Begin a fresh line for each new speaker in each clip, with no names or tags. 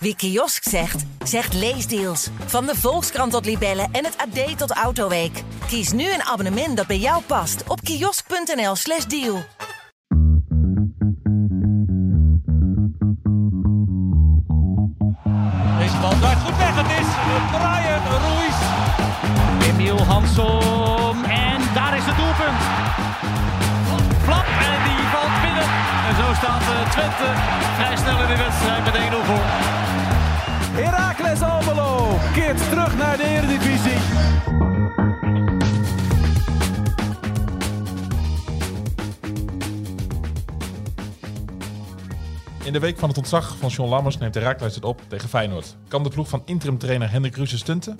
Wie kiosk zegt, zegt leesdeals. Van de Volkskrant tot Libellen en het AD tot Autoweek. Kies nu een abonnement dat bij jou past op kiosk.nl/slash deal.
Deze bal draait goed weg. Het is Brian Ruiz. Emiel Hansom. En daar is het doelpunt. Flap en die valt binnen. En zo staat eh, Twente vrij snel in de wedstrijd met 1-0 voor.
Heracles Almelo keert terug naar de Eredivisie.
In de week van het ontzag van John Lammers neemt Herakles het op tegen Feyenoord. Kan de ploeg van interim-trainer Hendrik Ruussen stunten?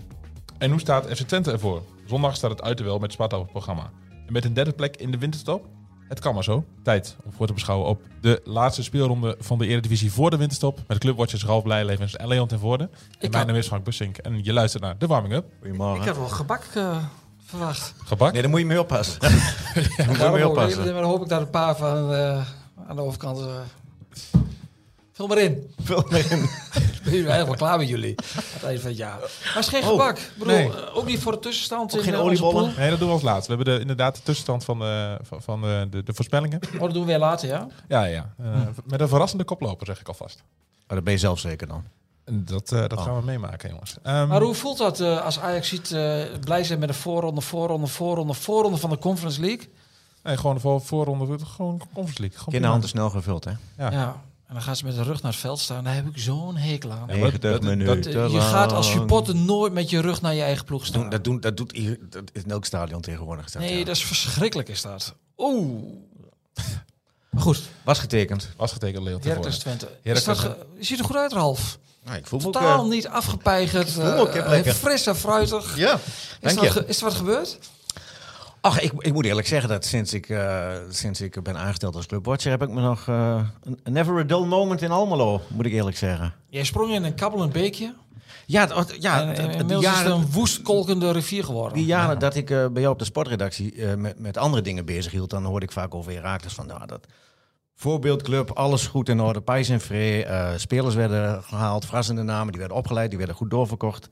En hoe staat FC Twente ervoor? Zondag staat het uit de wel met Sparta op het programma. En met een derde plek in de winterstop? Het kan maar zo. Tijd om voor te beschouwen op de laatste speelronde van de Eredivisie voor de winterstop. Met clubwatchers Ralf Blijlevens en Leon ten Voorde. En mijn naam is Frank Bussink en je luistert naar de warming-up.
Ik had wel gebak eh, verwacht.
Gebak.
Nee, daar moet je mee oppassen. daar moet je mee
Daarom hoop-
oppassen.
dan hoop ik dat een paar van eh, aan de overkant... eh vul maar in.
Vul maar in.
Ik ben hier helemaal klaar met jullie. Aan het eind van het jaar. Maar het is geen gebak. Ik bedoel,
nee.
eh, ook niet voor de tussenstand. in, eh,
geen
onze
oliebollen?
pool.
Nee, dat doen we als laatste. We hebben de, inderdaad de tussenstand van, de, van, van de, de, de voorspellingen.
Oh, dat doen we weer later, ja?
Ja, ja. ja. Eh, Met een verrassende koploper, zeg ik alvast.
Oh, dat ben je zelf zeker dan.
En dat eh,
Oh.
dat gaan we meemaken, jongens. Ehm,
Maar hoe voelt dat eh, als Ajax ziet eh, blij zijn met een voorronde, voorronde, voorronde, voorronde van de Conference League?
Nee, gewoon de voor- voorronde, gewoon Conference League. Gewoon
Kinderhand is
prima.
snel gevuld, hè?
Ja.
Ja. En dan gaan ze met de rug naar het veld staan. Daar heb ik zo'n hekel aan. eh,
Ja, maar dat-
90
dat-
minuten.
dat-
Je gaat als supporter nooit met je rug naar je eigen ploeg
Doen,
staan.
dat, doen, dat doet hier, dat is in elk stadion tegenwoordig. is Dat,
Nee,
ja.
dat is verschrikkelijk is dat. Oeh. Maar goed,
Was getekend.
Was getekend Leon ten
Heracles
Voorde.
Twente.
Heracles-
Is dat ge- je ziet er goed uit, Ralf.
Nou, ik voel me ook,
Totaal
eh,
niet afgepeigerd.
voel me ook heel
eh,
lekker.
fris en fruitig.
Ja,
Is,
dank
er wat
je.
ge- is er wat gebeurd?
Ach, ik, ik moet eerlijk zeggen dat sinds ik, eh, sinds ik ben aangesteld als clubwatcher... heb ik me nog... eh, een- never a dull moment in Almelo, moet ik eerlijk zeggen.
Jij sprong in een kabbelend beekje.
Ja, dat- ja
en,
eh, dat-
en,
die
inmiddels is het
jaren-
een woest kolkende rivier geworden.
Die jaren dat ik eh, bij jou op de sportredactie eh, met, met andere dingen bezig hield, dan hoorde ik vaak over Herakles van nou, dat voorbeeldclub, alles goed in orde, pijs en vree. eh, spelers werden gehaald, verrassende namen, die werden opgeleid, die werden goed doorverkocht.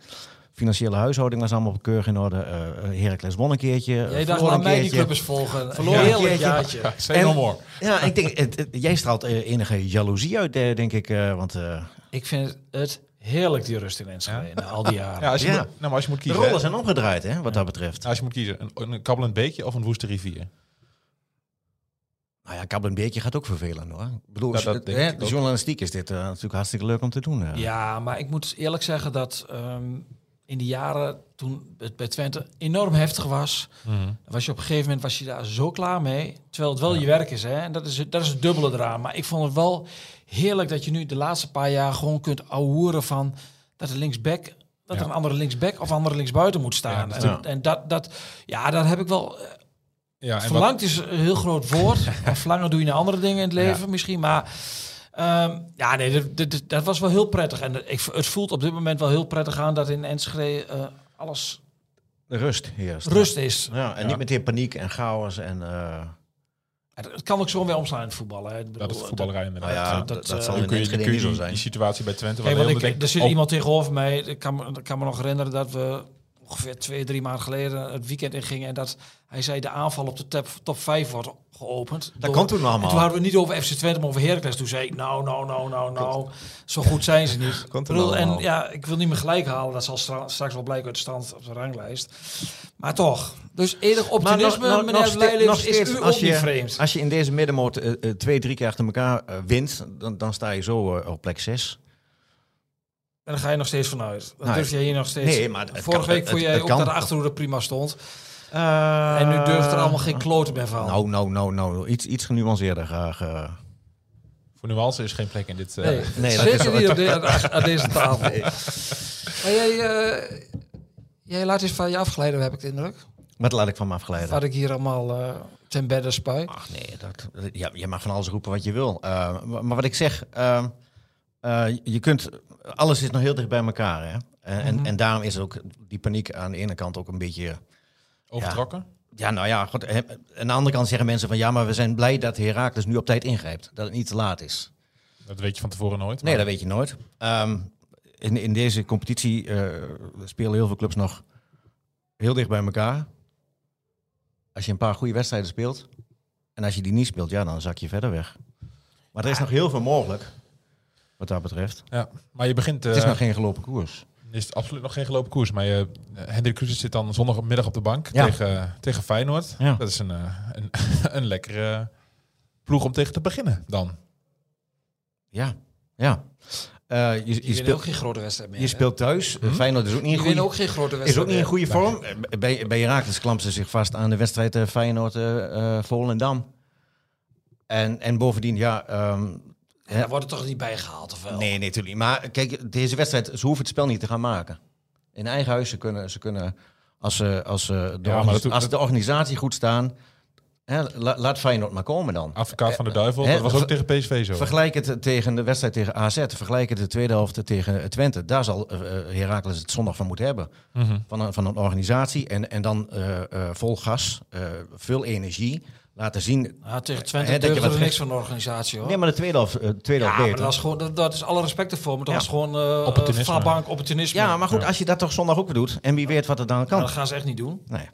Financiële huishouding was allemaal keurig in orde. eh Heracles won een keertje. eh,
Jij
verloor
dacht,
een
laat mij die
keertje.
club eens volgen.
Verloren een
Heerlijk
keertje.
jaartje.
Ja, say no
En-
more.
Ja, ik denk, het- het- jij straalt eh, enige jaloezie uit, eh, denk ik. eh, want eh,
Ik vind het heerlijk, die rust in Enschede, na al die jaren.
Ja, als je,
Ja.
Moet, nou, maar als je moet
de
kiezen. hè.
rollen zijn omgedraaid, hè, wat dat betreft.
Als je moet kiezen, een, een kabbelend beekje of een woeste rivier.
Nou ja, kabbel een beetje gaat ook vervelen, hoor. Ik bedoel,
Ja, dat
eh,
denk ik ook.
journalistiek is dit eh, natuurlijk hartstikke leuk om te doen. eh.
Ja, maar ik moet dus eerlijk zeggen dat ehm, in de jaren toen het bij Twente enorm heftig was, was je op een gegeven moment was je daar zo klaar mee. Terwijl het wel je werk is, hè? En dat is, het- dat is het dubbele eraan. Maar ik vond het wel heerlijk dat je nu de laatste paar jaar gewoon kunt ahoeren van dat de linksback
Ja.
dat er een andere linksback of een andere linksbuiten moet staan.
Ja,
en, en dat, dat, ja, daar heb ik wel. eh,
Ja, en wat,
verlangt is een heel groot woord. en verlangen doe je naar andere dingen in het leven misschien. Maar ehm, ja, nee, dat, dat- dat was wel heel prettig. En ik, het voelt op dit moment wel heel prettig aan dat in Enschede eh, alles
Rust heerst.
rust is.
Ja, en niet meteen paniek en chaos. En, eh,
Het het kan ook zo weer omslaan in het voetballen. hè. Ik bedoel,
dat is voetballerij inderdaad.
nou ja,
Dan
dat,
dat, eh,
kun
zal
je-
in
kun je,
Enschede niet zo
die, die
zijn.
situatie bij Twente... waar
Kijk, want
Leon
ik,
denkt,
er zit
oh,
iemand tegenover mij. Ik kan, me- ik kan me nog herinneren dat we ongeveer twee, drie maanden geleden het weekend ingingen. En dat hij zei de aanval op de top, top 5 wordt geopend.
Dat
Door-
kan toen
En
allemaal.
toen hadden we het niet over FC Twente, maar over Heracles. Toen zei ik, nou, nou, nou, nou, nou. Zo goed zijn ze niet.
Kan
Ik
toen
bedoel, en
allemaal.
ja, ik wil niet meer gelijk halen. Dat zal stra- straks wel blijken uit de stand op de ranglijst. Maar toch. Dus enig
Maar nog-
optimisme,
nog- nog
meneer
ste- nog
Blijlevens, is
steeds,
u
als
ook
je,
niet vreemd.
Als je in deze middenmoot eh, eh, twee, drie keer achter elkaar eh, wint, dan, dan sta je zo eh, op plek zes.
En daar ga je nog steeds vanuit. Dan
Nou,
durf je hier nog steeds.
nee, maar het
Vorige
kan-
week
het-
vond
het-
jij
het
ook
kan.
dat de achterhoede prima stond. Eh, en nu durft er allemaal geen kloten meer van.
Nou, nou, nou, nou. Iets, iets genuanceerder graag. eh.
Voor nuance is geen plek in dit... eh,
nee,
nee, dat
zeker
is-
niet op de- aan- aan deze tafel. Maar jij, eh, jij laat eens van je afgeleiden, heb ik de indruk.
Wat laat ik van me afgeleiden?
Wat ik hier allemaal eh, ten bedde spui.
Ach nee, dat, dat- ja, je mag van alles roepen wat je wil. Eh, maar maar wat ik zeg, ehm, eh, je kunt, alles is nog heel dicht bij elkaar. Hè? En, en, en daarom is ook die paniek aan de ene kant ook een beetje...
Overtrokken?
Ja, nou ja, goed, hè, aan de andere kant zeggen mensen van... ja, maar we zijn blij dat Herakles nu op tijd ingrijpt. Dat het niet te laat is.
Dat weet je van tevoren nooit.
Nee,
maar-
dat weet je nooit. Ehm, in, in deze competitie eh, spelen heel veel clubs nog heel dicht bij elkaar. Als je een paar goede wedstrijden speelt en als je die niet speelt, ja, dan zak je verder weg. Maar er is nog heel veel mogelijk, wat dat betreft.
Ja, maar je begint... eh,
Het is nog geen gelopen koers.
is absoluut nog geen gelopen koers. Maar je, eh, Hendrik Kruse zit dan zondagmiddag op de bank
Ja.
tegen, tegen Feyenoord.
Ja.
Dat is een, eh, een, een lekkere ploeg om tegen te beginnen dan.
Ja, ja. Eh, je, je,
Je speelt ook
speelt,
geen grote wedstrijd meer. Mhm.
je speelt thuis. Feyenoord is ook niet in
je wint
goede,
ook geen grote wedstrijd
is ook niet in
meer.
goede vorm. Eh, Bij, bij Herakles klampt ze zich vast aan de wedstrijd eh, Feyenoord eh eh Volendam. En, en bovendien, ja... ehm, hè,
Daar wordt het toch niet bijgehaald of wel?
nee, natuurlijk niet. Maar kijk, deze wedstrijd, ze hoeven het spel niet te gaan maken. In eigen huis, ze kunnen... Ze kunnen als, ze, als, ze de,
maar
organis-
dat doet-
als de organisatie goed staan... Hè, la- laat Feyenoord maar komen dan.
Advocaat van de duivel,
hè,
dat was ook
Eh, ver-
tegen PSV zo.
Vergelijk het tegen de wedstrijd tegen AZ. Vergelijk het de tweede helft tegen Twente. Daar zal eh, eh, Heracles het zondag van moeten hebben. Van, een, van een organisatie. En, en dan eh, eh, vol gas, eh, veel energie. Laten zien.
Ja, Ah, tegen
Hè,
Twente
dat je
deugde
wat
er niks
geks-
van de organisatie hoor.
Nee, maar de tweede helft, eh, tweede
ja,
helft
maar
beter.
dat, is gewoon, dat, dat is alle respect ervoor, maar dat
Ja.
is gewoon eh,
Opportunisme.
eh vaarbank opportunisme.
Ja, maar goed, als je dat toch zondag ook weer doet. En wie weet wat er dan
Maar
kan.
dat gaan ze echt niet doen.
Nee,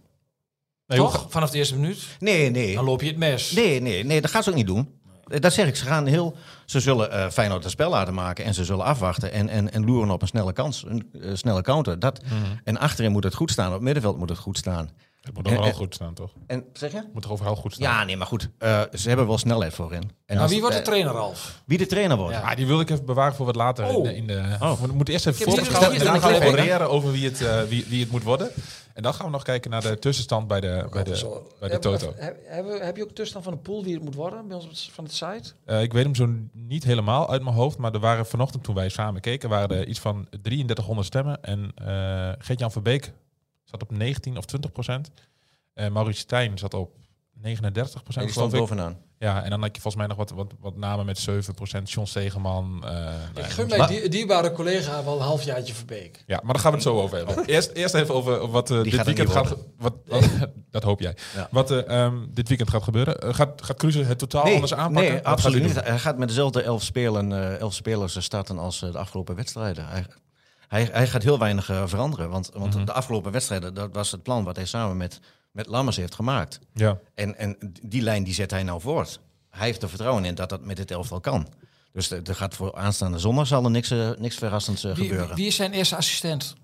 Nee, hoe
toch? Vanaf de eerste minuut,
nee, nee.
dan loop je het mes.
Nee, nee, nee, dat gaan ze ook niet doen. Eh, Dat zeg ik. Ze, gaan heel, ze zullen eh Feyenoord een spel laten maken en ze zullen afwachten en, en, en loeren op een snelle kans, een eh, snelle counter. Dat, En achterin moet het goed staan, op het middenveld moet het goed staan.
Het moet overal
Eh, eh.
goed staan, toch? Het
En zeg je?
moet toch overal goed staan?
Ja, nee, maar goed. eh, ze hebben wel snelheid voorin.
Nou,
En
Maar
als-
Nou, wie wordt de
eh,
trainer, Ralf?
wie de trainer wordt?
Ja.
Ah, die wil ik even bewaren voor wat later.
Oh.
In de, in de, We moeten eerst even
Ik heb hier-
voorbeschouwen
hier
en dan
een
gaan we
cliffhanger.
oreren over wie het, eh, wie, wie het moet worden. En dan gaan we nog kijken naar de tussenstand bij de,
Oh,
bij de, bij de Toto.
heb je ook tussenstand van de pool wie het moet worden bij ons van het site?
Eh, ik weet hem zo niet helemaal uit mijn hoofd, maar er waren vanochtend toen wij samen keken, waren er iets van 3300 stemmen. En eh Geert-Jan Verbeek zat op 19 of 20 procent. En Maurits Stijn zat op 39
Nee,
procent,
die stond
nou, geloof ik.
bovenaan.
Ja, en dan had je volgens mij nog wat, wat, wat namen met 7 procent. John Stegeman. eh, nou
Ik
ja,
gun mijn die, dierbare collega wel een halfjaartje Verbeek.
Ja, maar daar gaan we het zo over hebben. Eerst, eerst even over over wat eh, dit
Oh. gaat er
weekend
niet
gaat... Wat, wat- dat hoop jij.
Ja.
Wat eh, ehm, dit weekend gaat gebeuren. Eh, gaat gaat Cruze het totaal anders aanpakken?
nee
Wat gaat
absoluut
hij
niet.
doen?
Hij gaat met dezelfde elf, spelen, eh, elf spelers eh, starten als eh, de afgelopen wedstrijden. Hij, hij, hij gaat heel weinig eh, veranderen. Want, want
Mhm.
de afgelopen wedstrijden, dat was het plan wat hij samen met, met Lammers heeft gemaakt.
Ja.
En, en die lijn die zet hij nou voort. Hij heeft er vertrouwen in dat dat met dit elftal kan. Dus er er gaat voor aanstaande zondag zal er niks, eh, niks verrassends eh,
Wie,
gebeuren.
wie is zijn eerste assistent?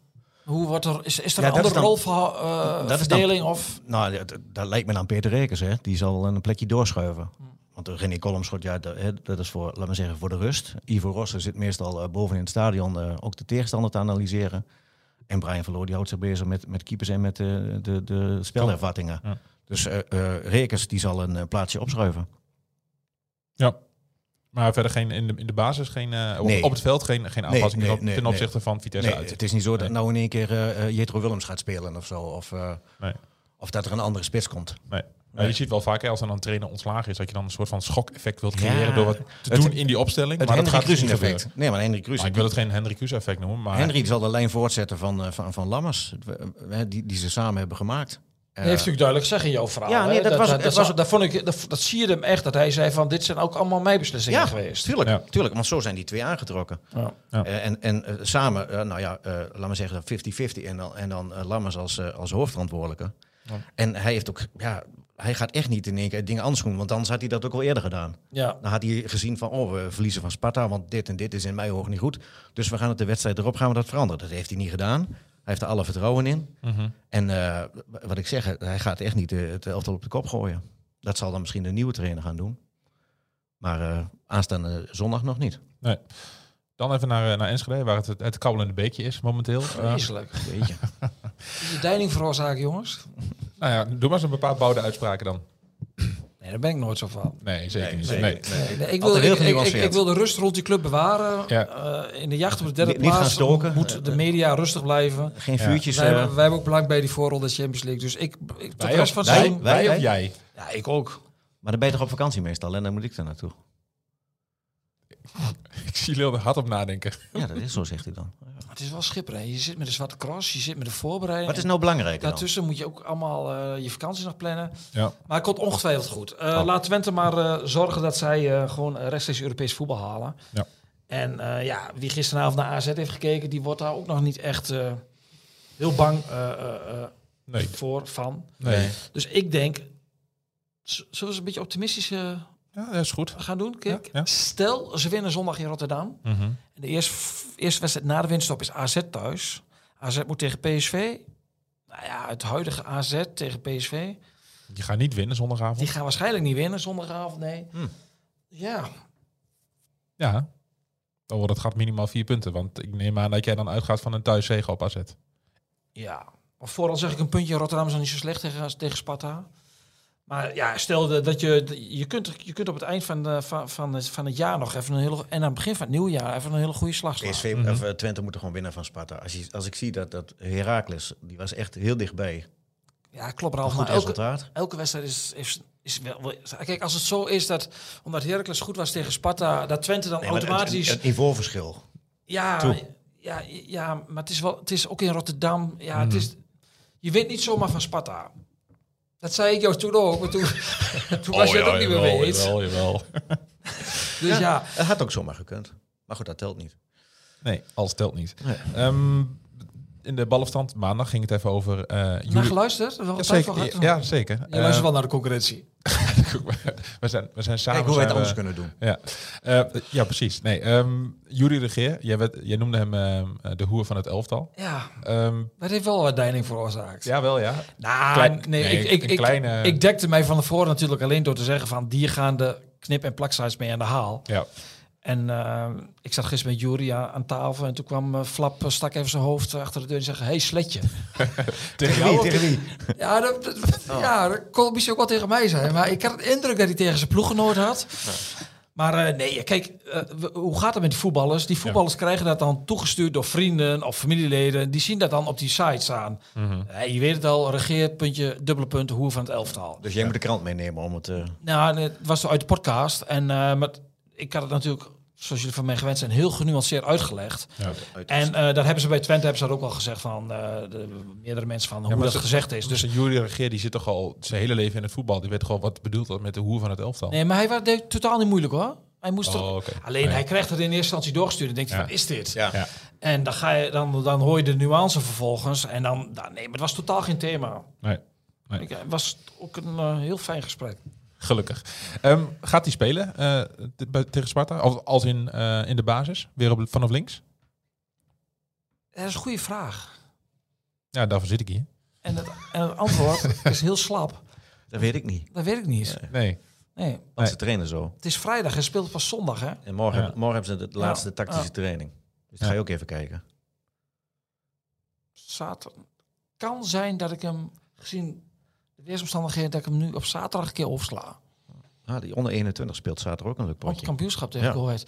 Hoe wordt er, is, is er
Ja,
een
dat is
andere
dan-
rolverdeling?
dat is dan-
verdeling of
Nou, dat, dat lijkt me aan Peter Rekers, hè. Die zal wel een plekje doorschuiven.
Hm.
Want René Colomschot, ja, dat, hè, dat is voor, laat maar zeggen, voor de rust. Ivo Rossen zit meestal eh, boven in het stadion eh, ook de tegenstander te analyseren. En Brian Verloo, die houdt zich bezig met, met keepers en met eh, de, de spelervattingen.
Ja.
Dus eh eh, Rekers, die zal een eh, plaatsje opschuiven.
ja. Maar verder geen, in, de, in de basis, geen, eh, op-
Nee.
op het veld geen, geen aanpassing
nee,
ten op-
nee,
ten
nee.
opzichte van Vitesse
Nee,
uit.
het is niet zo dat nou in één keer eh, eh, Jetro Willems gaat spelen of zo. Of, eh,
Nee.
of dat er een andere spits komt.
Nee. Maar je ziet wel vaak, hè, als er dan een trainer ontslagen is, dat je dan een soort van schok-effect wilt
Ja.
creëren door wat te
Het-
doen in die opstelling.
Het
maar dat gaat
Henry
dus niet
Kruse
gebeuren.
effect. Nee, maar Henry
Maar
Kruse.
ik wil het geen Henry Kruse-effect noemen, maar
Henry zal de lijn voortzetten van, eh, van, van Lammers, eh, die, die ze samen hebben gemaakt. Eh,
heeft natuurlijk duidelijk gezegd in jouw verhaal.
Ja, nee,
hè?
dat was
dat,
het. Het was-
dat, vond ik, dat, dat zie je hem echt. Dat hij zei van, dit zijn ook allemaal mijn beslissingen
Eh, ja,
geweest.
Tuurlijk,
Ja.
tuurlijk, want zo zijn die twee aangetrokken.
Ja.
Ja.
Eh, en en eh, samen, eh, nou ja, eh laten we zeggen 50-50 en dan, en dan eh, Lammers als, eh, als hoofdverantwoordelijke. En hij heeft ook, ja, hij gaat echt niet in één keer dingen anders doen, want anders had hij dat ook al eerder gedaan.
Ja.
Dan had hij gezien van, oh, we verliezen van Sparta, want dit en dit is in mijn ogen niet goed. Dus we gaan het de wedstrijd erop, gaan we dat veranderen. Dat heeft hij niet gedaan. Hij heeft er alle vertrouwen in.
Mhm.
En eh, wat ik zeg, hij gaat echt niet eh, het elftal op de kop gooien. Dat zal dan misschien de nieuwe trainer gaan doen. Maar eh, aanstaande zondag nog niet.
dan even naar, eh, naar Enschede, waar het, het, het kabbelende beekje is momenteel.
Oh,
Eh,
Vreselijk.
Weet je.
De deining veroorzaken, jongens.
nou ja, doe maar eens een bepaald bouwde uitspraken dan.
Nee, daar ben ik nooit zo van.
Nee, zeker
Nee,
niet.
zeker
Nee.
niet.
Nee, nee, ik, wil,
Altijd heel
ik, ik- ik,
genuanceerd.
ik wil de rust rond die club bewaren.
Ja.
Eh, in de jacht op de derde
Niet- niet gaan
plaats
stoken.
Eh, moet de media rustig blijven.
Geen
Ja.
vuurtjes.
Wij,
eh,
hebben- wij hebben ook belang bij die voorrol de Champions League. Dus ik, ik tot de
Wij, of,
rest van het
wij,
seizoen-
wij
wij-
of jij?
Ja, ik ook.
maar dan ben je toch op vakantie meestal en dan moet ik daar naartoe.
Ik zie Leel er hard op nadenken.
Ja, dat is zo, zegt hij dan.
Maar het is wel schipper. hè. Je zit met de zwarte cross, je zit met de voorbereiding.
Wat is nou belangrijk dan?
Daartussen moet je ook allemaal eh, je vakantie nog plannen.
Ja.
Maar het komt ongetwijfeld goed. Eh,
Oh.
Laat Twente maar eh, zorgen dat zij eh, gewoon rechtstreeks Europees voetbal halen.
Ja.
En eh, ja, wie gisteravond naar AZ heeft gekeken, die wordt daar ook nog niet echt eh, heel bang eh, eh, eh,
Nee.
voor van.
nee.
Dus ik denk, z- zullen we eens een beetje optimistisch eh,
Ja, dat is goed.
gaan doen, Kik?
Ja, ja.
Stel, ze winnen zondag in Rotterdam.
Mhm.
En de eerste, eerste wedstrijd na de winststop is AZ thuis. AZ moet tegen PSV. Nou ja, het huidige AZ tegen PSV.
Je gaat niet winnen zondagavond.
Die gaan waarschijnlijk niet winnen zondagavond, nee.
Hmm.
Ja,
Ja. Oh, dat gaat minimaal vier punten. Want ik neem aan dat jij dan uitgaat van een thuiszege op AZ.
ja. Of vooral zeg ik een puntje. Rotterdam is dan niet zo slecht tegen, tegen Sparta. Maar ja, stel de- dat je... Je kunt, je kunt op het eind van, de, van, van, het, van het jaar nog even een hele... En aan het begin van het nieuwe jaar even een hele goede slag slaan.
PSV, of, eh, Twente moeten gewoon winnen van Sparta. Als, je, als ik zie dat, dat Heracles, die was echt heel dichtbij.
Ja, klopt Ralf.
Goed
Maar elke,
resultaat.
elke wedstrijd is, is, is wel... wel- Kijk, als het zo is dat omdat Heracles goed was tegen Sparta, dat Twente dan
Nee, maar het-
automatisch...
Het, het niveauverschil.
ja,
toe.
ja, ja, maar het is, wel, het is ook in Rotterdam. Ja, het is, je wint niet zomaar van Sparta. Dat zei ik jou toen ook, maar toen, toen was je het ook niet meer mee eens.
Oh Jawel, jawel.
Dus ja,
Het had ook zomaar gekund. Maar goed, dat telt niet.
Nee, alles telt niet. Ehm, in de balafstand maandag ging het even over... eh
naar
jullie...
geluisterd? Wel
Ja,
wat tijd voor gehad?
zeker. Ja, Eh. zeker. Ehm,
Je luistert wel naar de concurrentie.
we zijn, we zijn samen...
Kijk hoe wij het
zijn
anders
we-
kunnen doen.
Ja, Eh, ja precies. Nee, ehm Jury Regeer, jij, werd, jij noemde hem ehm, eh, de hoer van het elftal.
Ja,
Ehm
dat heeft wel wat deining veroorzaakt.
jawel, ja.
Nou,
Klein-
nee,
nee,
ik, ik,
een
ik,
kleine-
ik dekte mij van tevoren natuurlijk alleen door te zeggen van... die gaan de knip- en plaksites mee aan de haal.
Ja,
En eh, ik zat gisteren met Jury aan, aan tafel en toen kwam eh, Flap, eh, stak even zijn hoofd achter de deur en zei... hey, sletje.
tegen jou.
Tegen wie? Oh.
ja, dat, dat- ja, dat kon misschien ook wel tegen mij zijn. Maar ik had het indruk dat hij tegen zijn ploeggenoot had. Maar eh, nee, kijk, eh, we- hoe gaat het met die voetballers? Die voetballers krijgen dat dan toegestuurd door vrienden of familieleden. Die zien dat dan op die site staan.
Mhm.
Eh, je weet het al, regeer, puntje, dubbele punt, hoe van het elftal.
Dus jij moet de krant meenemen om het... eh,
Nou, en het was uit de podcast. En eh, maar ik had het natuurlijk, zoals jullie van mij gewend zijn, heel genuanceerd uitgelegd.
Ja.
En eh daar hebben ze bij Twente hebben ze dat ook al gezegd van eh, de, meerdere mensen van hoe
maar
dat
ze-
gezegd is.
Dus
Dus,
een Jury Regeer die zit toch al zijn hele leven in het voetbal. Die weet gewoon wat bedoeld wordt met de hoer van het elftal.
nee, maar hij wa- deed totaal niet moeilijk hoor. Hij moest
Oh,
toch,
oké.
Alleen
Nee.
hij kreeg het in eerste instantie doorgestuurd. En denkt hij,
Ja.
wat is dit?
Ja.
Ja.
En dan, ga je, dan, dan hoor je de nuance vervolgens. En dan, dan nee, maar het was totaal geen thema.
Nee, nee.
Ik, eh, het was ook een eh, heel fijn gesprek.
Gelukkig. Ehm, gaat hij spelen eh, te- bij- tegen Sparta? Of als in, eh, in de basis? Weer op, vanaf links?
Dat is een goede vraag.
Ja, daarvoor zit ik hier.
En het, en het antwoord is heel slap.
dat weet ik niet.
Dat weet ik niet.
Nee.
Nee.
Want ze trainen zo.
Het is vrijdag en speelt pas zondag, hè?
En morgen,
Ja.
heb- morgen hebben ze de laatste tactische training. Dus dat ga je ook even kijken.
Zaterdag. Kan zijn dat ik hem, gezien de weersomstandigheden, dat ik hem nu op zaterdag een keer opsla.
Ah, die onder 21 speelt zaterdag ook een leuk
Op het
potje.
kampioenschap tegen
Ja.
Go Ahead.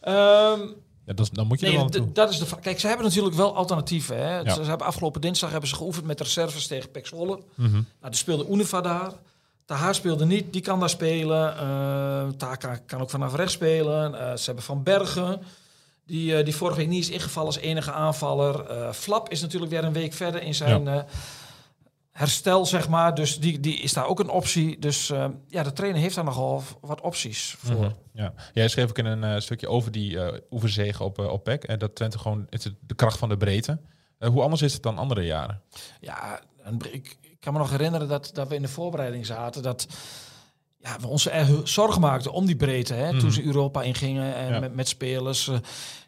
Ehm,
Ja, dat is- dan moet je er
nee,
wel
d-
naartoe.
dat is de vraag. Kijk, ze hebben natuurlijk wel alternatieven. Hè?
Ja.
Ze, ze hebben afgelopen dinsdag hebben ze geoefend met de reserves tegen Pek Zwolle.
Mhm.
Nou, er speelde Uneva daar. Taha speelde niet, die kan daar spelen. Eh Taka kan ook vanaf rechts spelen. Eh, ze hebben Van Bergen, die, eh, die vorige week niet is ingevallen als enige aanvaller. Eh, Flap is natuurlijk weer een week verder in zijn eh, herstel, zeg maar. Dus die, die is daar ook een optie. Dus eh, ja, de trainer heeft daar nogal wat opties voor.
Mhm. Ja. Jij schreef ook in een eh, stukje over die eh oefenzege op, eh, op PEC. En dat Twente gewoon het is de kracht van de breedte. Eh, hoe anders is het dan andere jaren?
Ja, en ik, ik kan me nog herinneren dat, dat we in de voorbereiding zaten. Dat ja, we ons erg zorgen maakten om die breedte. Hè, Toen ze Europa ingingen en
Ja.
met, met spelers. eh,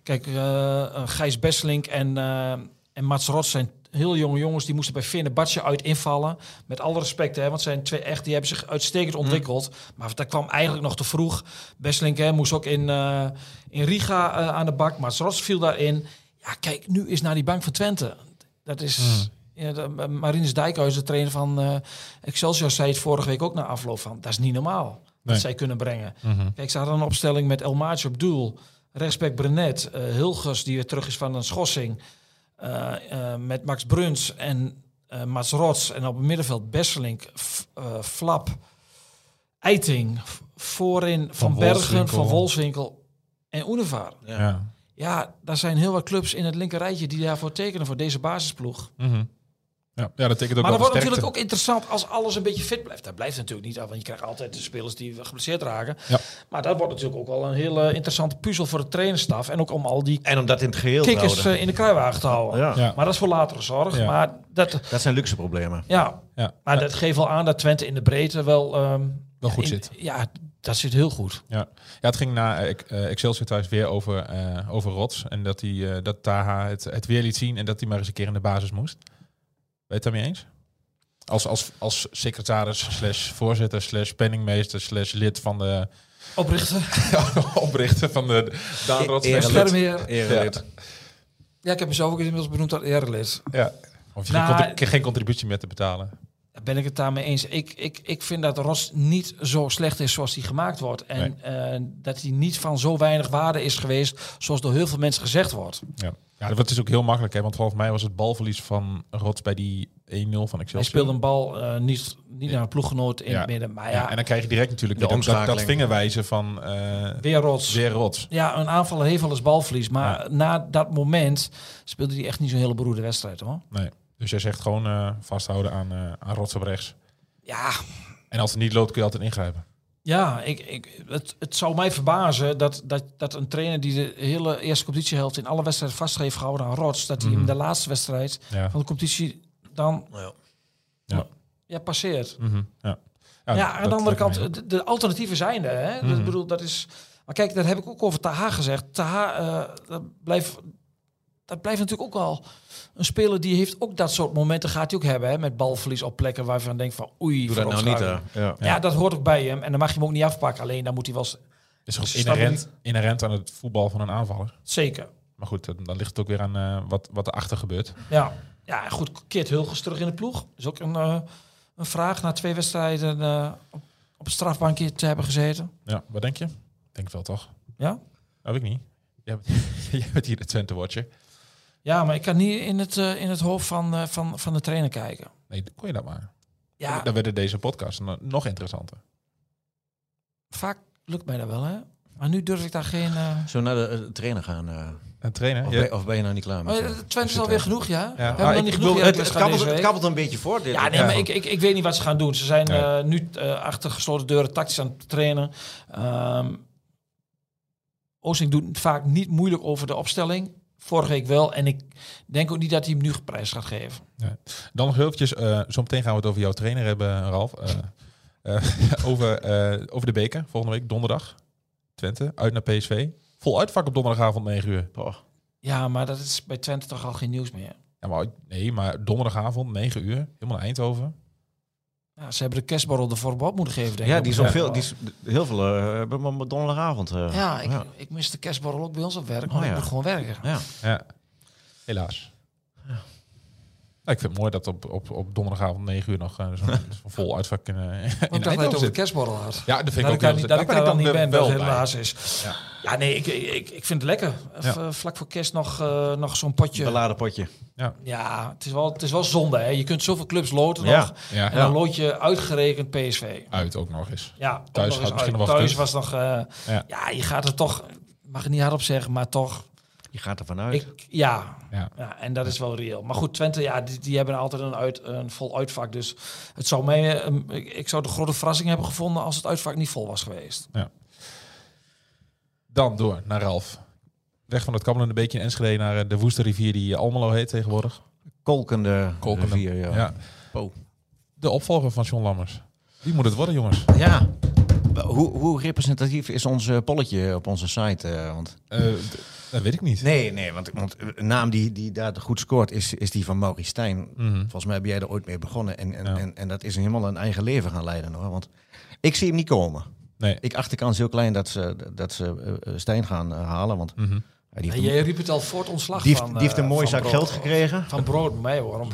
Kijk, eh, eh, Gijs Besselink en, eh, en Mats Rots zijn heel jonge jongens. Die moesten bij Fenerbahce uit invallen. Met alle respect, hè, want zijn twee echt, die hebben zich uitstekend ontwikkeld. Maar dat kwam eigenlijk nog te vroeg. Besselink hè, moest ook in, eh, in Riga eh, aan de bak. Mats Rots viel daarin. Ja, kijk, nu is naar die bank van Twente. Dat is...
Hmm.
Ja, de- Marinus Dijkhuizen, de trainer van eh, Excelsior, zei het vorige week ook na afloop van... dat is niet normaal
Nee.
dat zij kunnen brengen.
Mhm.
Kijk, ze hadden een opstelling met El Maatje op doel. Rechtsback Brenet, eh Hilgers die weer terug is van een schorsing. eh, eh, met Max Bruns en eh Mats Rots. En op het middenveld Besselink, F- eh, Flap, Eiting. v- Voorin Van, Bergen,
Wolfswinkel.
Van Wolfswinkel en Oenevaar.
Ja.
Ja, daar zijn heel wat clubs in het linkerrijtje die daarvoor tekenen voor deze basisploeg.
Mhm. Ja, ja dat betekent ook
Maar dat
wel
wordt natuurlijk
sterkte.
ook interessant als alles een beetje fit blijft. Dat blijft natuurlijk niet, want je krijgt altijd de spelers die geblesseerd raken.
Ja.
Maar dat wordt natuurlijk ook wel een hele interessante puzzel voor de trainerstaf. En ook om al die
En om dat in het geheel te
kikkers
houden.
eh, in de kruiwagen te houden.
Ja.
Ja.
Maar dat is voor latere zorg.
Ja.
Maar, dat,
Dat zijn luxe problemen.
ja.
Ja.
maar dat geeft wel aan dat Twente in de breedte wel... ehm,
Wel goed
in-
zit.
Ja, dat zit heel goed.
Ja. ja, het ging na eh, Ex- eh, Excelsior thuis weer over, eh, over Rots. En dat, die, eh, dat Taha het, het weer liet zien en dat hij maar eens een keer in de basis moest. Weet je het daarmee eens? Als, als, als secretaris, slash voorzitter, slash penningmeester, slash lid van de
Oprichten.
oprichter van de Daan Rots.
Eerlijk.
slash lid.
Schermheer.
Erelid.
Ja, ik heb mezelf ook inmiddels benoemd dat erelid.
Ja. Of je
Nou,
geen, contri- geen contributie meer te betalen.
Daar ben ik het daarmee eens. Ik, ik, ik vind dat Ros niet zo slecht is zoals hij gemaakt wordt. En eh, dat hij niet van zo weinig waarde is geweest zoals door heel veel mensen gezegd wordt.
Ja. ja, dat is ook heel makkelijk, hè? want volgens mij was het balverlies van Rots bij die 1-0 van
Hij
Excelsior.
speelde een bal eh, niet, niet naar een ploeggenoot in
Ja.
het midden. Maar
Ja,
ja,
en dan krijg je direct natuurlijk
De
weer dat, dat, dat
omschakeling.
vingerwijzen van eh
weer Ros.
weer Rots.
Ja, een aanvaller heeft wel eens balverlies. Maar na dat moment speelde hij echt niet zo'n hele beroerde wedstrijd hoor.
Nee. Dus jij zegt gewoon eh, vasthouden aan, eh aan rots op rechts.
Ja,
En als het niet loopt, kun je altijd ingrijpen.
Ja, ik, ik, het, het zou mij verbazen dat, dat, dat een trainer die de hele eerste competitiehelft in alle wedstrijden vast heeft gehouden aan Rots, dat hij
Mhm.
hem de laatste wedstrijd
Ja.
van de competitie dan ja.
Ja.
passeert.
Mhm. ja.
Ja, aan
dat
de andere
lijkt me
kant, eh,
heel-
de, de alternatieven zijn er. Hè? Dus Ik bedoel, dat is... Maar kijk, dat heb ik ook over Taha gezegd. Taha, eh, dat, blijft, dat blijft natuurlijk ook al een speler die heeft ook dat soort momenten gaat hij ook hebben. Hè? Met balverlies op plekken waarvan je denkt van oei.
Doe dat nou niet, hè?
verontwaardiging. Ja. dat hoort ook bij hem. En dan mag je hem ook niet afpakken. Alleen dan moet hij wel... s-
is toch
Snap
inherent, inherent aan het voetbal van een aanvaller.
Zeker.
Maar goed, dan, dan ligt het ook weer aan eh, wat, wat erachter gebeurt.
Ja, ja goed. Keert Hulges terug in de ploeg. Is ook een, eh, een vraag na twee wedstrijden eh, op, op een strafbankje te hebben gezeten.
Ja, wat denk je? Ik Denk het wel toch?
Ja?
Dat weet ik niet. Jij bent, jij bent hier de Twente Watcher.
Ja, maar ik kan niet in het, eh, in het hoofd van, eh, van, van de trainer kijken.
Nee, kon je dat maar.
Ja,
Dan werden deze podcasts no- nog interessanter.
vaak lukt mij dat wel, hè? Maar nu durf ik daar geen... eh
Zo naar de eh, trainer gaan. eh,
En trainen?
of,
Ja.
ben, of ben je nou niet klaar met
maar
je-
eh, Twente is
je
alweer
trainer?
genoeg, ja? We
Ah,
hebben nog
ik
niet
bedoel,
genoeg
het-
Heracles
Het
gehad
kabbelt,
deze
het
week.
kabbelt een beetje voor dit.
Ja, nee,
Ja.
maar ik, ik, ik weet niet wat ze gaan doen. Ze zijn
Nee.
eh, nu eh, achter gesloten deuren tactisch aan het trainen. Ehm Oosting doet het vaak niet moeilijk over de opstelling. Vorige week wel. En ik denk ook niet dat hij hem nu prijs gaat geven.
Dan nog heel eventjes, eh, zometeen gaan we het over jouw trainer hebben, Ralf. Eh, eh, over, eh, over de beker, volgende week, donderdag. Twente, uit naar PSV. Vol uitvak op donderdagavond 9 uur.
Oh.
Ja, maar dat is bij Twente toch al geen nieuws meer.
Ja, maar, nee, maar donderdagavond 9 uur, helemaal naar Eindhoven.
Ja, ze hebben de kerstborrel de voorbod moeten geven, denk ik.
Ja, die is
Op-
al veel, die is heel veel eh, hebben we maar donderdagavond. eh.
Ja, ik,
ja.
ik mis de kerstborrel ook bij ons op werk.
Oh,
Maar ik
ja.
moet gewoon werken.
Ja.
Ja, helaas. Nou, ik vind het mooi dat op, op, op donderdagavond 9 uur nog eh, zo'n zo'n vol uitvak in, eh, in
Want ik dacht dat je het
Eindhoven
over de
zit.
kerstborrel had.
Ja, dat vind
dat
ik
ik
ook
daar,
heel
niet,
daar
dat ik
ben
daar
ik dan
dan niet
weer
ben, dat
wel
het
bij.
helaas is.
Ja.
Ja, nee, ik, ik, ik vind het lekker.
Ja.
V- Vlak voor kerst nog, eh, nog zo'n potje.
Beladen potje.
Ja, het is wel, het is wel zonde. Hè? Je kunt zoveel clubs loten
Ja.
nog.
Ja,
En dan lood je uitgerekend PSV.
uit ook nog eens.
Ja, ook
Thuis
nog eens
had misschien
uit.
nog wel
Thuis
gekund.
was nog... eh,
Ja.
ja. je gaat er toch... Mag ik niet hardop zeggen, maar toch...
Je gaat er vanuit.
Ik, ja.
Ja.
ja, en dat is wel reëel. Maar goed, Twente, ja, die, die hebben altijd een, uit, een vol uitvak. Dus het zou mij, eh, een- ik, ik zou de grote verrassing hebben gevonden als het uitvak niet vol was geweest.
Dan door naar Ralf. Weg van het kabbelende beekje in Enschede naar eh, de woeste rivier die eh, Almelo heet tegenwoordig.
Kolkende,
Kolkende.
rivier, ja.
Ja.
Po.
De opvolger van John Lammers. Die moet het worden, jongens.
Ja. Hoe, hoe representatief is ons eh, polletje op onze site? eh, want...
Eh, d- dat weet ik niet.
Nee, nee, want, want een naam die, die daar goed scoort is, is die van Maurice Stijn. Volgens mij ben jij er ooit mee begonnen. En, en,
Ja.
en, en dat is helemaal een eigen leven gaan leiden hoor. Want ik zie hem niet komen.
Nee.
Ik acht de kans heel klein dat ze, dat ze eh, eh, Stijn gaan eh, halen. Want
Mhm.
eh, die,
En
heeft,
jij riep het al voor het ontslag
die, heeft,
van...
die heeft een
eh,
mooie
van
zak
Brood.
geld gekregen. Dus-
Van brood, mij hoor. Om-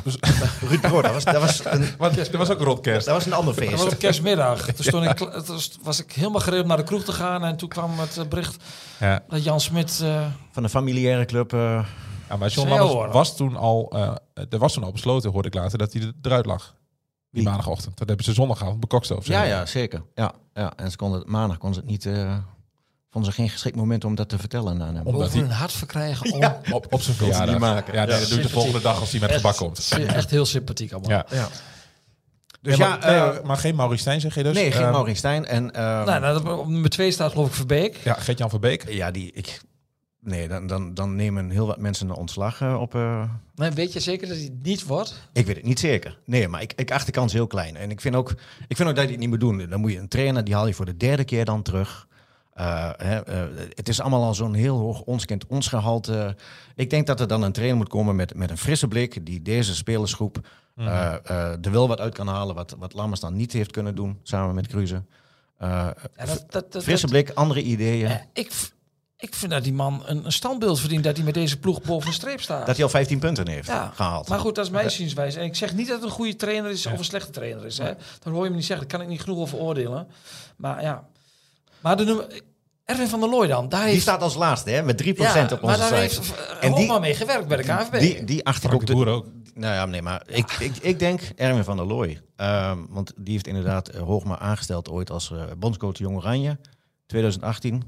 Ruud Brood, dat was, dat was een,
Want er was ook
dat
rotkerst.
was een ander
Dat was
feest.
op kerstmiddag. Toen stond ik, kla- toen st- was ik helemaal gereed om naar de kroeg te gaan. En toen kwam het eh, bericht
Ja.
dat Jan Smit... eh,
Van een familiaire club. eh,
Ja, maar
Zou
John
je
Lammers
horen?
was toen, al, eh, er was toen al besloten, hoorde ik later, dat hij er- eruit lag. Die
Wie?
maandagochtend. Dat hebben ze zondagavond bekokstoofd.
ja, ja, zeker. Ja, ja. En ze konden, het- maandag kon ze het niet... eh, vonden ze geen geschikt moment om dat te vertellen aan hem.
Omdat
Boven
hij-
hun hart verkrijgen. Om...
Op, op zijn verjaardag.
niet maken.
Ja, nee, dat doe je de
sympathiek.
volgende dag als hij met
Echt,
gebak komt.
Echt heel sympathiek allemaal.
Ja.
Ja.
Dus
Dus
ja,
ja,
maar, nee,
eh,
maar geen Maurice Stijn zeg je dus?
nee, geen
Ehm,
Maurits Stijn. En, eh,
Nou, nou, dat- op nummer twee staat geloof ik Verbeek.
Ja, Gert-Jan van Beek.
ja, die, ik, nee, dan, dan, dan nemen heel wat mensen een ontslag eh, op. eh,
Maar weet je zeker dat hij het niet wordt?
Ik weet het niet zeker. Nee, maar ik, ik acht de kans heel klein. En ik vind, ook, ik vind ook dat je het niet moet doen. Dan moet je een trainer, die haal je voor de derde keer dan terug. Eh, hè, eh, het is allemaal al zo'n heel hoog ons kent ons gehalte. Ik denk dat er dan een trainer moet komen met, met een frisse blik... die deze spelersgroep
Mhm.
eh, eh, er wel wat uit kan halen... wat, wat Lammers dan niet heeft kunnen doen samen met Cruze. Eh,
Ja, dat, dat, dat,
frisse
dat-
blik, andere ideeën.
Eh, ik, v- ik vind dat die man een, een standbeeld verdient dat hij met deze ploeg boven de streep staat.
Dat hij al 15 punten heeft
ja.
gehaald.
Maar goed, dat is mijn zienswijze. En ik zeg niet dat het een goede trainer is of een slechte trainer is. Hè. Dat hoor je me niet zeggen. Daar kan ik niet genoeg over oordelen. Maar ja. Maar de nummer... Erwin van der Looy dan. Daar
die
heeft,
staat als laatste, hè, met 3%
ja, Maar
op onze
daar
site.
heeft eh,
En die-
Hofman mee gewerkt bij de KNVB.
Die, die acht ik
Frank
ook
de
de,
Boer ook.
Nou ja, nee, maar ik, ik, ik denk Erwin van der Looy. Ehm, want die heeft inderdaad eh, Hoogma aangesteld ooit als eh, bondscoach Jong Oranje. 2018.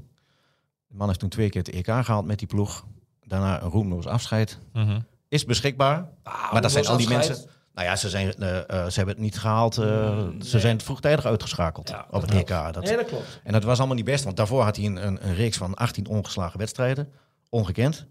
De man heeft toen twee keer het EK gehaald met die ploeg. Daarna een roemloos afscheid.
Mhm.
Is beschikbaar. maar dat zijn al die
afscheid.
mensen... Nou ja, ze, zijn, eh, eh, ze hebben het niet gehaald. eh, Ze zijn vroegtijdig uitgeschakeld
Ja,
op het
dat
EK. Dat,
Nee, dat klopt.
en dat was allemaal niet best, want daarvoor had hij een, een, een reeks van 18 ongeslagen wedstrijden. Ongekend.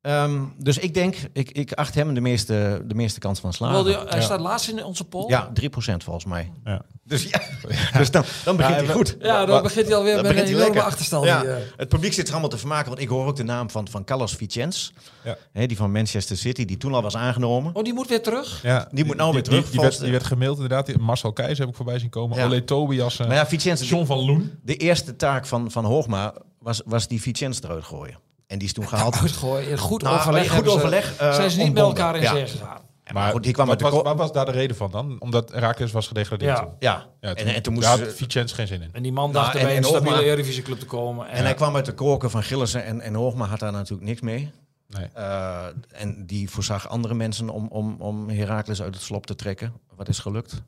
Ehm, dus ik denk, ik, ik acht hem de meeste, de meeste kans van
Wel,
slagen.
die- hij staat laatst in onze poll.
Ah, Ja, 3% volgens mij.
Ja.
Dus, ja, dus dan, dan begint hij goed.
Ja, dan
Maar-
begint hij alweer
dan
met een
begint hij
enorme
lekker.
achterstand.
Ja,
die, eh.
Het publiek zit er allemaal te vermaken, want ik hoor ook de naam van, van Carlos Vicens.
Ja.
Hè, die van Manchester City, die toen al was aangenomen.
Oh, die moet weer terug?
Ja,
Die moet nou weer
die-
terug,
Die,
volgens
werd,
de-
die werd gemaild inderdaad. Die- Marcel Keijs heb ik voorbij zien komen.
Ja.
Ole Tobias. eh,
Maar ja, Vicens,
John van Loen.
de eerste taak van, van Hoogma was, was die Vicens eruit gooien. En die is toen gehaald.
Uitgooien. In Goed
Nou,
overleg.
goed
hebben ze-
overleg, eh,
zijn ze niet met
ontbonden.
elkaar in
Ja.
zee gegaan.
Maar goed, die kwam
wat,
uit de
was,
ko-
wat was daar de reden van dan? Omdat Raakles was gedegradeerd
Ja.
toen.
Ja,
Ja,
en, en toen moest
daar
ze-
had Vicens geen zin in.
En die man
Nou,
dacht
en-
bij
en
een stabiele
Hoogma-
Eredivisieclub te komen.
En
En,
hij kwam uit de koken van Gillissen en, en Hoogma had daar natuurlijk niks mee.
Nee.
Eh, en die voorzag andere mensen om, om, om Herakles uit het slop te trekken. Wat is gelukt.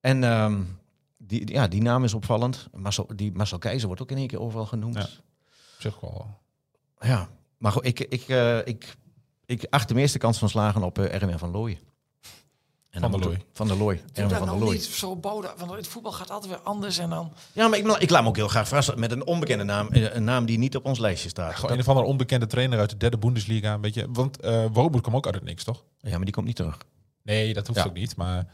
En ehm, die, die- ja, die naam is opvallend. Marcel, die Marcel Keizer wordt ook in één keer overal genoemd.
Ja.
Ja,
Op zich wel. eh,
maar goed, ik, ik, eh, ik, ik acht de meeste kans van slagen op eh Erwin van Looy. En
Van der
dan moet
Looy.
ik- Van der Looy.
Doe
Erwin
dat
van der
nou
Looy.
niet zo boden, want het voetbal gaat altijd weer anders. En dan,
Ja, maar ik, ik laat me ook heel graag verrassen met een onbekende naam. eh, Een naam die niet op ons lijstje staat.
Gewoon een of andere onbekende trainer uit de derde Bundesliga. Weet je. Want eh Wormoed kwam ook uit het niks, toch?
Ja, maar die komt niet terug.
Nee, dat hoeft
Ja.
ook niet. Maar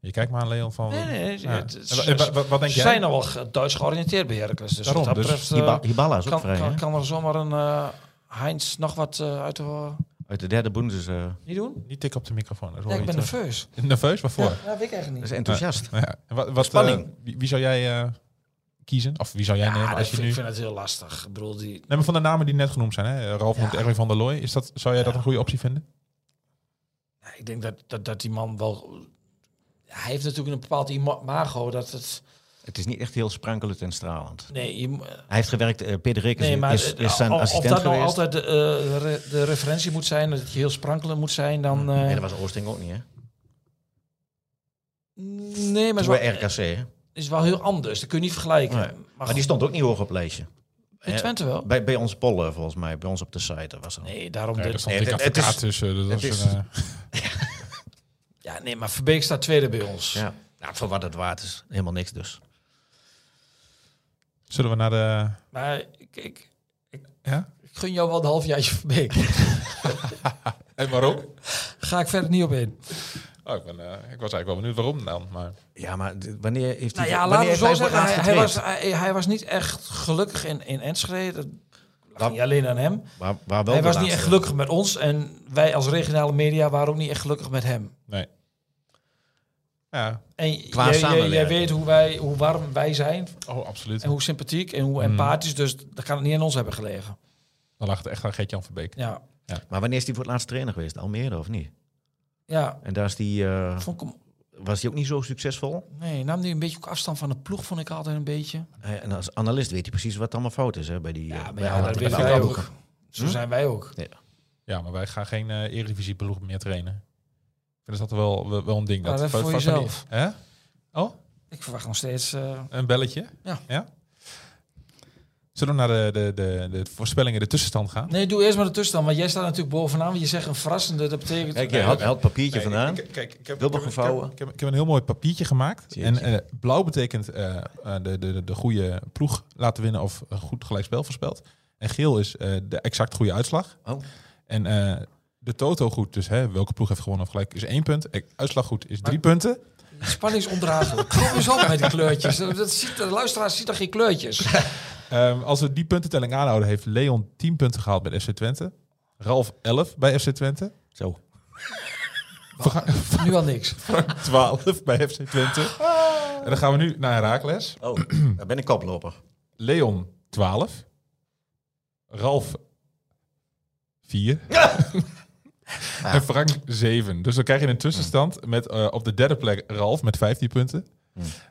je kijkt maar aan Leon van...
nee, nee,
Ja.
het- het-
En wa- en wa- wa- wat denk
ze
jij?
zijn al wel ge- Duits georiënteerd bij Heracles. Dus
Daarom,
wat dat
dus
betreft eh,
Hiba- Hibala is ook
kan,
vrij,
kan,
hè?
kan er zomaar een eh, Heinz nog wat eh, uit de...
Uit de derde Bundes. eh,
niet doen?
Niet tikken op de microfoon. dat hoor
Ja, ik
je
ben
terug.
nerveus.
Nerveus?
Ja,
Waarvoor?
dat weet ik eigenlijk
dat
niet.
is enthousiast.
Ja. En Wat, wat,
Spanning.
eh, wie, wie zou jij eh, kiezen? Of wie zou jij nemen
Ja, dat
als je
vind,
nu...
Ah, ik vind het heel lastig. Ik bedoel, die,
Nee, maar van de namen die net genoemd zijn, hè? Eh, Ralf noemt Erwin van der Looy. Is dat, zou jij dat een goede optie vinden?
Ja, Ik denk dat, dat, dat die man wel... Hij heeft natuurlijk een bepaald imago dat het...
Het is niet echt heel sprankelend en stralend.
Nee, je, mo-
Hij heeft gewerkt, eh, Peter Rikkers
nee maar
is, is zijn
of- of
assistent
dat nou
geweest.
altijd de, eh, re- de referentie moet zijn, dat je heel sprankelend moet zijn, dan... eh,
Nee, dat was Oosting ook niet, hè?
nee, eh, maar
Maar
is wel,
bij RKC, hè? Maar,
is wel heel anders. Dat kun je niet vergelijken.
Nee.
Maar,
die
goed,
stond ook niet hoog op het lijstje.
in
eh,
Twente wel.
Bij, bij ons pollen, volgens mij. Bij ons op de site was er.
Nee, daarom...
Nee,
dit-
er stond
nee,
ik
het- het
advocaat
is-
tussen. dus dat
het
is
is-
een, eh,
ja, nee, maar Verbeek staat tweede bij ons.
Ja. Nou, voor wat het waard is, helemaal niks dus.
zullen we naar de...
Maar ik, ik,
Ja?
ik gun jou wel een halfjaartje Verbeek.
En waarom?
Ga ik verder niet op in.
Oh, ik, ben, eh, ik was eigenlijk wel benieuwd waarom dan. Maar
Ja, maar d- wanneer heeft hij...
Nou ja, laten
wanneer
we
heeft
zo
hij voor
zeggen,
het
hij, hij
laatst
was,
getraind?
hij, hij was niet echt gelukkig in, in Enschede. Dat lag
Dat-
niet alleen aan hem.
Waar, waar wel
hij
de
was niet
laatste-
echt gelukkig met ons. En wij als regionale media waren ook niet echt gelukkig met hem.
nee. Ja,
En
Qua
jij, jij, jij
samenwerking.
weet hoe, wij, hoe warm wij zijn.
oh, absoluut.
En hoe sympathiek en
Mhm.
hoe empathisch. Dus dat kan het niet aan ons hebben gelegen.
Dan lag het echt aan Gert-Jan Verbeek.
Ja,
Maar wanneer is hij voor het laatst trainer geweest? Almere of niet?
ja.
En daar is die, eh,
Vond ik hem,
was hij ook niet zo succesvol.
nee, nam die een beetje ook afstand van de ploeg, vond ik altijd een beetje.
Hij- Eh, en als analist weet hij precies wat allemaal fout is hè, bij die... eh,
Ja, maar
bij
ja,
alle
dat
drie-
weten
bij
wij
alle
ook. Zo zijn wij ook.
Ja, maar wij gaan geen eh eredivisie ploeg meer trainen. Ik vind dat altijd wel, wel, wel een ding.
Ja, dat
van- van-
voor
van die-
jezelf.
Hè? Oh,
Ik verwacht nog steeds... eh,
een belletje?
Ja.
ja? Zullen we naar de, de, de, de voorspellingen, de tussenstand gaan?
Nee, doe eerst maar de tussenstand. Want jij staat natuurlijk bovenaan. Want je zegt een verrassende. Dat betekent...
eh, Kijk, je haalt haalt het papiertje
Nee,
vandaan.
ik- Kijk, ik heb,
Dubbel
ik heb-
gevouwen.
Ik heb, ik heb, ik heb een heel mooi papiertje gemaakt.
Jeetje.
En eh, blauw betekent eh, eh, de, de, de- de goede ploeg laten winnen of een goed gelijkspel voorspeld. En geel is eh, de exact goede uitslag.
Oh.
En eh, de toto goed, dus hè, welke ploeg heeft gewonnen of gelijk, is één punt. Eh, Uitslag goed is drie punten.
Spanning is ondraaglijk. Kom eens op met die kleurtjes. Dat dat ziet, de luisteraars ziet er geen kleurtjes.
Ehm, als we die puntentelling aanhouden, heeft Leon 10 punten gehaald bij FC Twente. Ralf 11 bij FC Twente.
Zo.
Nu al niks.
12 bij FC Twente. En dan gaan we nu naar Herakles.
Oh, daar ben ik koploper.
Leon 12. Ralf 4. en Frank 7. Dus dan krijg je een tussenstand met eh, op de derde plek Ralf met 15 punten.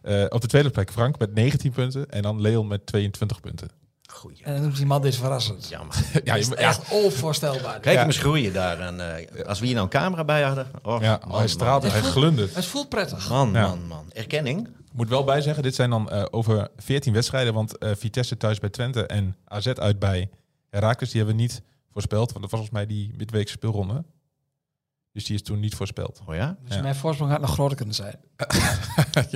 Eh, op de tweede plek Frank met 19 punten. En dan Leon met 22 punten.
Goeie.
En dan noemt die man dit verrassend.
Jammer.
Ja, je- ja,
Echt onvoorstelbaar.
Kijk
Ja.
hem eens groeien daar. En, eh, als we hier nou een camera bij hadden. Och,
ja,
Oh, man,
hij straalt, hij glundert.
Het voelt prettig.
Man, man,
Ja.
man, man. Erkenning.
Ik moet wel bijzeggen, dit zijn dan eh, over 14 wedstrijden. Want eh, Vitesse thuis bij Twente en AZ uit bij Herakles, die hebben we niet voorspeld. Want dat was volgens mij die midweekse speelronde. Dus die is toen niet voorspeld.
Oh ja?
Dus
Ja.
mijn voorsprong had nog groter kunnen zijn.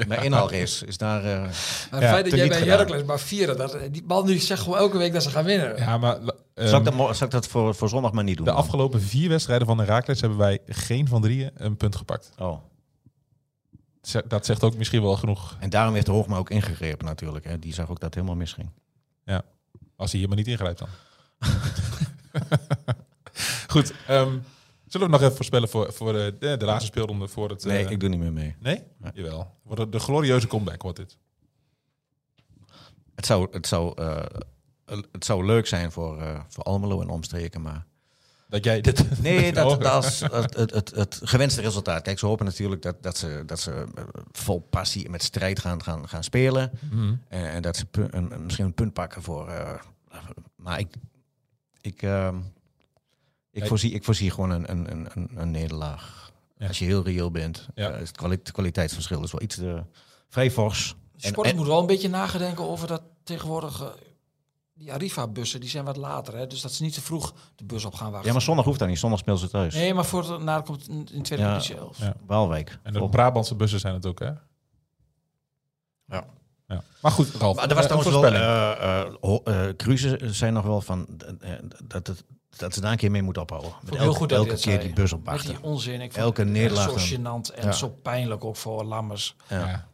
Mijn inhaalrace is daar... eh,
Maar het
Ja,
feit dat jij
teniet
bij
gedaan.
Heracles maar vieren. Dat, eh, die man nu zegt gewoon elke week dat ze gaan winnen.
Ja, maar ehm,
zal, ik dat, mo- zal ik dat voor, voor zondag maar niet doen?
de afgelopen vier wedstrijden van Herakles hebben wij geen van drieën een punt gepakt.
Oh.
Ze- Dat zegt ook misschien wel genoeg
En daarom heeft de Hoogma ook ingegrepen natuurlijk. Hè. Die zag ook dat het helemaal misging.
als hij hier maar niet ingrijpt dan. Goed, ehm, zullen we nog even voorspellen voor, voor de, de, de laatste speelronde voor het... eh,
Nee, ik doe niet meer mee.
nee? Jawel. Wordt het de glorieuze comeback wordt dit.
Het zou, het zou, eh, het zou leuk zijn voor, eh, voor Almelo en omstreken, maar...
Dat jij dit...
Nee, dat,
Oh.
dat als, het, het, het, het gewenste resultaat. Kijk, ze hopen natuurlijk dat, dat ze, dat ze eh, vol passie en met strijd gaan, gaan, gaan spelen.
Mhm.
En, en dat ze pu- een- een- misschien een punt pakken voor... eh, maar ik... Ik, ehm, ik,
Ja.
voorzie, ik voorzie gewoon een, een, een, een, een nederlaag.
Ja.
Als je heel reëel bent.
Ja.
eh, is het kwali- het kwaliteitsverschil is wel iets eh, vrij fors. En-
Sport
en-
moet wel een beetje nagedenken over dat tegenwoordig... eh, die Arriva-bussen, die zijn wat later. Hè? Dus dat ze niet te vroeg de bus op gaan wachten.
Ja, maar zondag hoeft dat niet. Zondag speelt ze thuis.
Nee, maar voor het naar komt in in tweede
Ja.
competitie elf.
Ja.
Waalwijk.
En de
Volgende.
Brabantse bussen zijn het ook, hè?
Ja.
ja. Maar goed, Ralf.
Maar er was
eh,
trouwens wel...
voorspelling.
eh eh, ho- eh, Cruzen zijn nog wel van... eh, dat, het, dat ze daar een keer mee moeten ophouden. Met
ik
elke
heel goed dat je
elke
dat
keer
zei.
die bus op
Met
wachten.
die onzin. Ik vond
Elke
het echt
nederlaag
Zo
dan.
gênant en
Ja.
zo pijnlijk ook voor Lammers.
Ja.
Ja.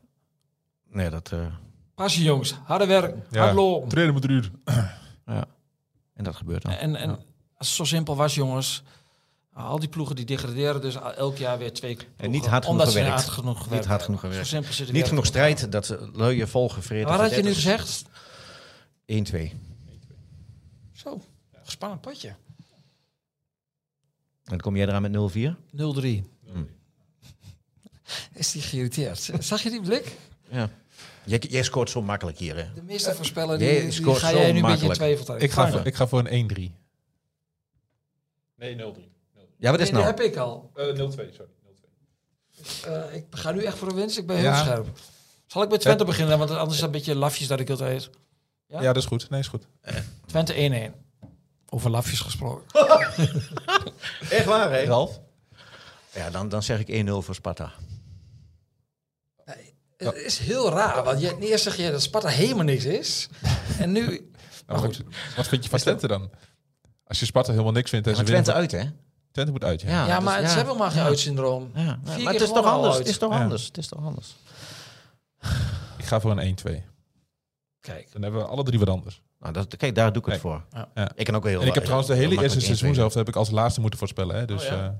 Nee, dat... eh,
Passie jongens, harde werk,
Ja.
hard lopen.
Trainen moet eruit.
ja. En dat gebeurt dan.
En, en als het zo simpel was jongens, al die ploegen die degraderen dus elk jaar weer twee ploegen,
niet hard genoeg
omdat ze
gewerkt.
hard genoeg
Niet hard genoeg
hebben.
gewerkt.
Zo simpel zit het
Niet
werk
genoeg
ook.
strijd dat ze luie volgevreden...
Maar wat had je nu gezegd?
1-2.
Zo, gespannen potje. 0-3.
En dan kom jij eraan met 0-4.
Is die geïrriteerd? Zag je die blik?
Ja. Jij, jij scoort zo makkelijk hier, hè?
De meeste voorspellen,
Jij
die, die
Eh, scoort
ga
zo
jij nu een beetje in
makkelijk.
twijfel trekken.
Ik ga,
Nee,
voor, ik ga voor een 1-3. Nee, 0-3.
Ja, wat is
die
nou?
heb ik al.
Eh, 0-2, sorry. 0-2.
Eh, ik ga nu echt voor de winst. Ik ben heel
Ja.
scherp. Zal ik met Twente beginnen? Want anders is dat een beetje lafjes dat ik het heet.
Ja? dat is goed. Nou, Nee, is goed.
Twente Eh, 1-1. Over lafjes gesproken.
Echt waar, hè?
Ralf?
Ja, dan, dan zeg ik 1-0 voor Sparta.
Het is heel raar. Want je, eerst zeg je dat Sparta helemaal niks is. En nu... Maar
Nou,
goed.
goed. Wat vind je van Twente dan? Als je Sparta helemaal niks vindt en
Maar
ze winnen...
Twente uit, hè?
Twente moet uit, ja.
Ja,
dat is-
maar ze hebben helemaal geen
Ja.
uitsyndroom.
Ja, ja,
Vier
maar het
keer
is toch
gewonnen al
anders.
uit.
Het is toch
Ja.
anders. Het is toch anders.
Ik ga voor een 1-2.
Kijk.
Dan hebben we alle drie wat anders.
Nou, dat, kijk, daar doe ik het
Nee.
voor.
Ja.
Ja.
Ik kan ook heel.
En ik heb
eh,
trouwens de
heel
hele eerste
makkelijk
seizoen
invullen.
zelf heb ik als laatste moeten voorspellen. Hè? Dus,
Oh, ja.
eh,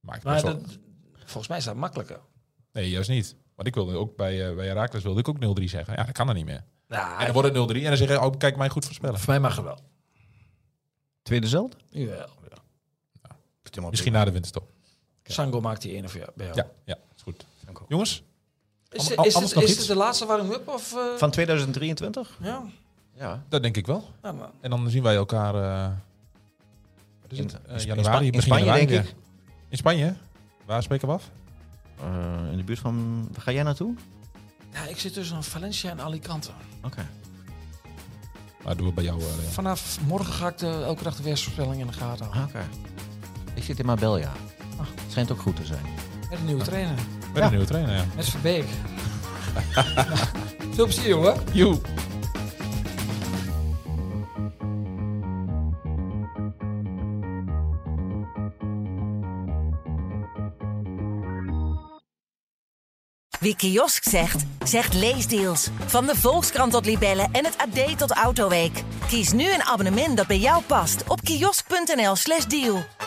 maakt
Maar
best wel-
dat- volgens mij is dat makkelijker.
Nee, juist niet. Want ik wilde ook bij, eh bij Herakles wilde ik ook 0-3 zeggen. Ja, dat kan er niet meer.
Nou,
En dan wordt het 0-3 en dan zeg je, oh, kijk mij goed voorspellen.
voor mij mag het wel.
Tweede zeld?
Jawel.
Misschien na de winterstop.
Sango maakt die ene voor jou. bij jou.
Ja, ja, is goed. Jongens,
Is,
Am- anders
is, dit,
nog
is
iets?
dit de laatste warming-up? Of, eh,
Van 2023?
ja.
Ja.
dat denk ik wel.
Nou, maar-
En dan zien wij elkaar eh, wat is
In-
het? Eh,
in Spa-
januari,
in
begin
Spanje,
januari
denk
weer. In Spanje? Waar spreken we af?
Eh, in de buurt van. Waar ga jij naartoe?
ja, ik zit tussen Valencia en Alicante.
Oké.
Maar doen we bij jou. eh, Leon.
Vanaf morgen ga ik de, elke dag de weersvoorspelling in de gaten houden.
Ah, Oké. Ik zit in Marbella.
Ah.
Schijnt ook goed te zijn.
Met een nieuwe trainer.
Met een nieuwe trainer, ja.
Met Verbeek. Nou, Veel plezier, hoor.
Joe.
Wie kiosk zegt, zegt leesdeals. Van de Volkskrant tot Libellen en het AD tot Autoweek. Kies nu een abonnement dat bij jou past op kiosk.nl/slash deal.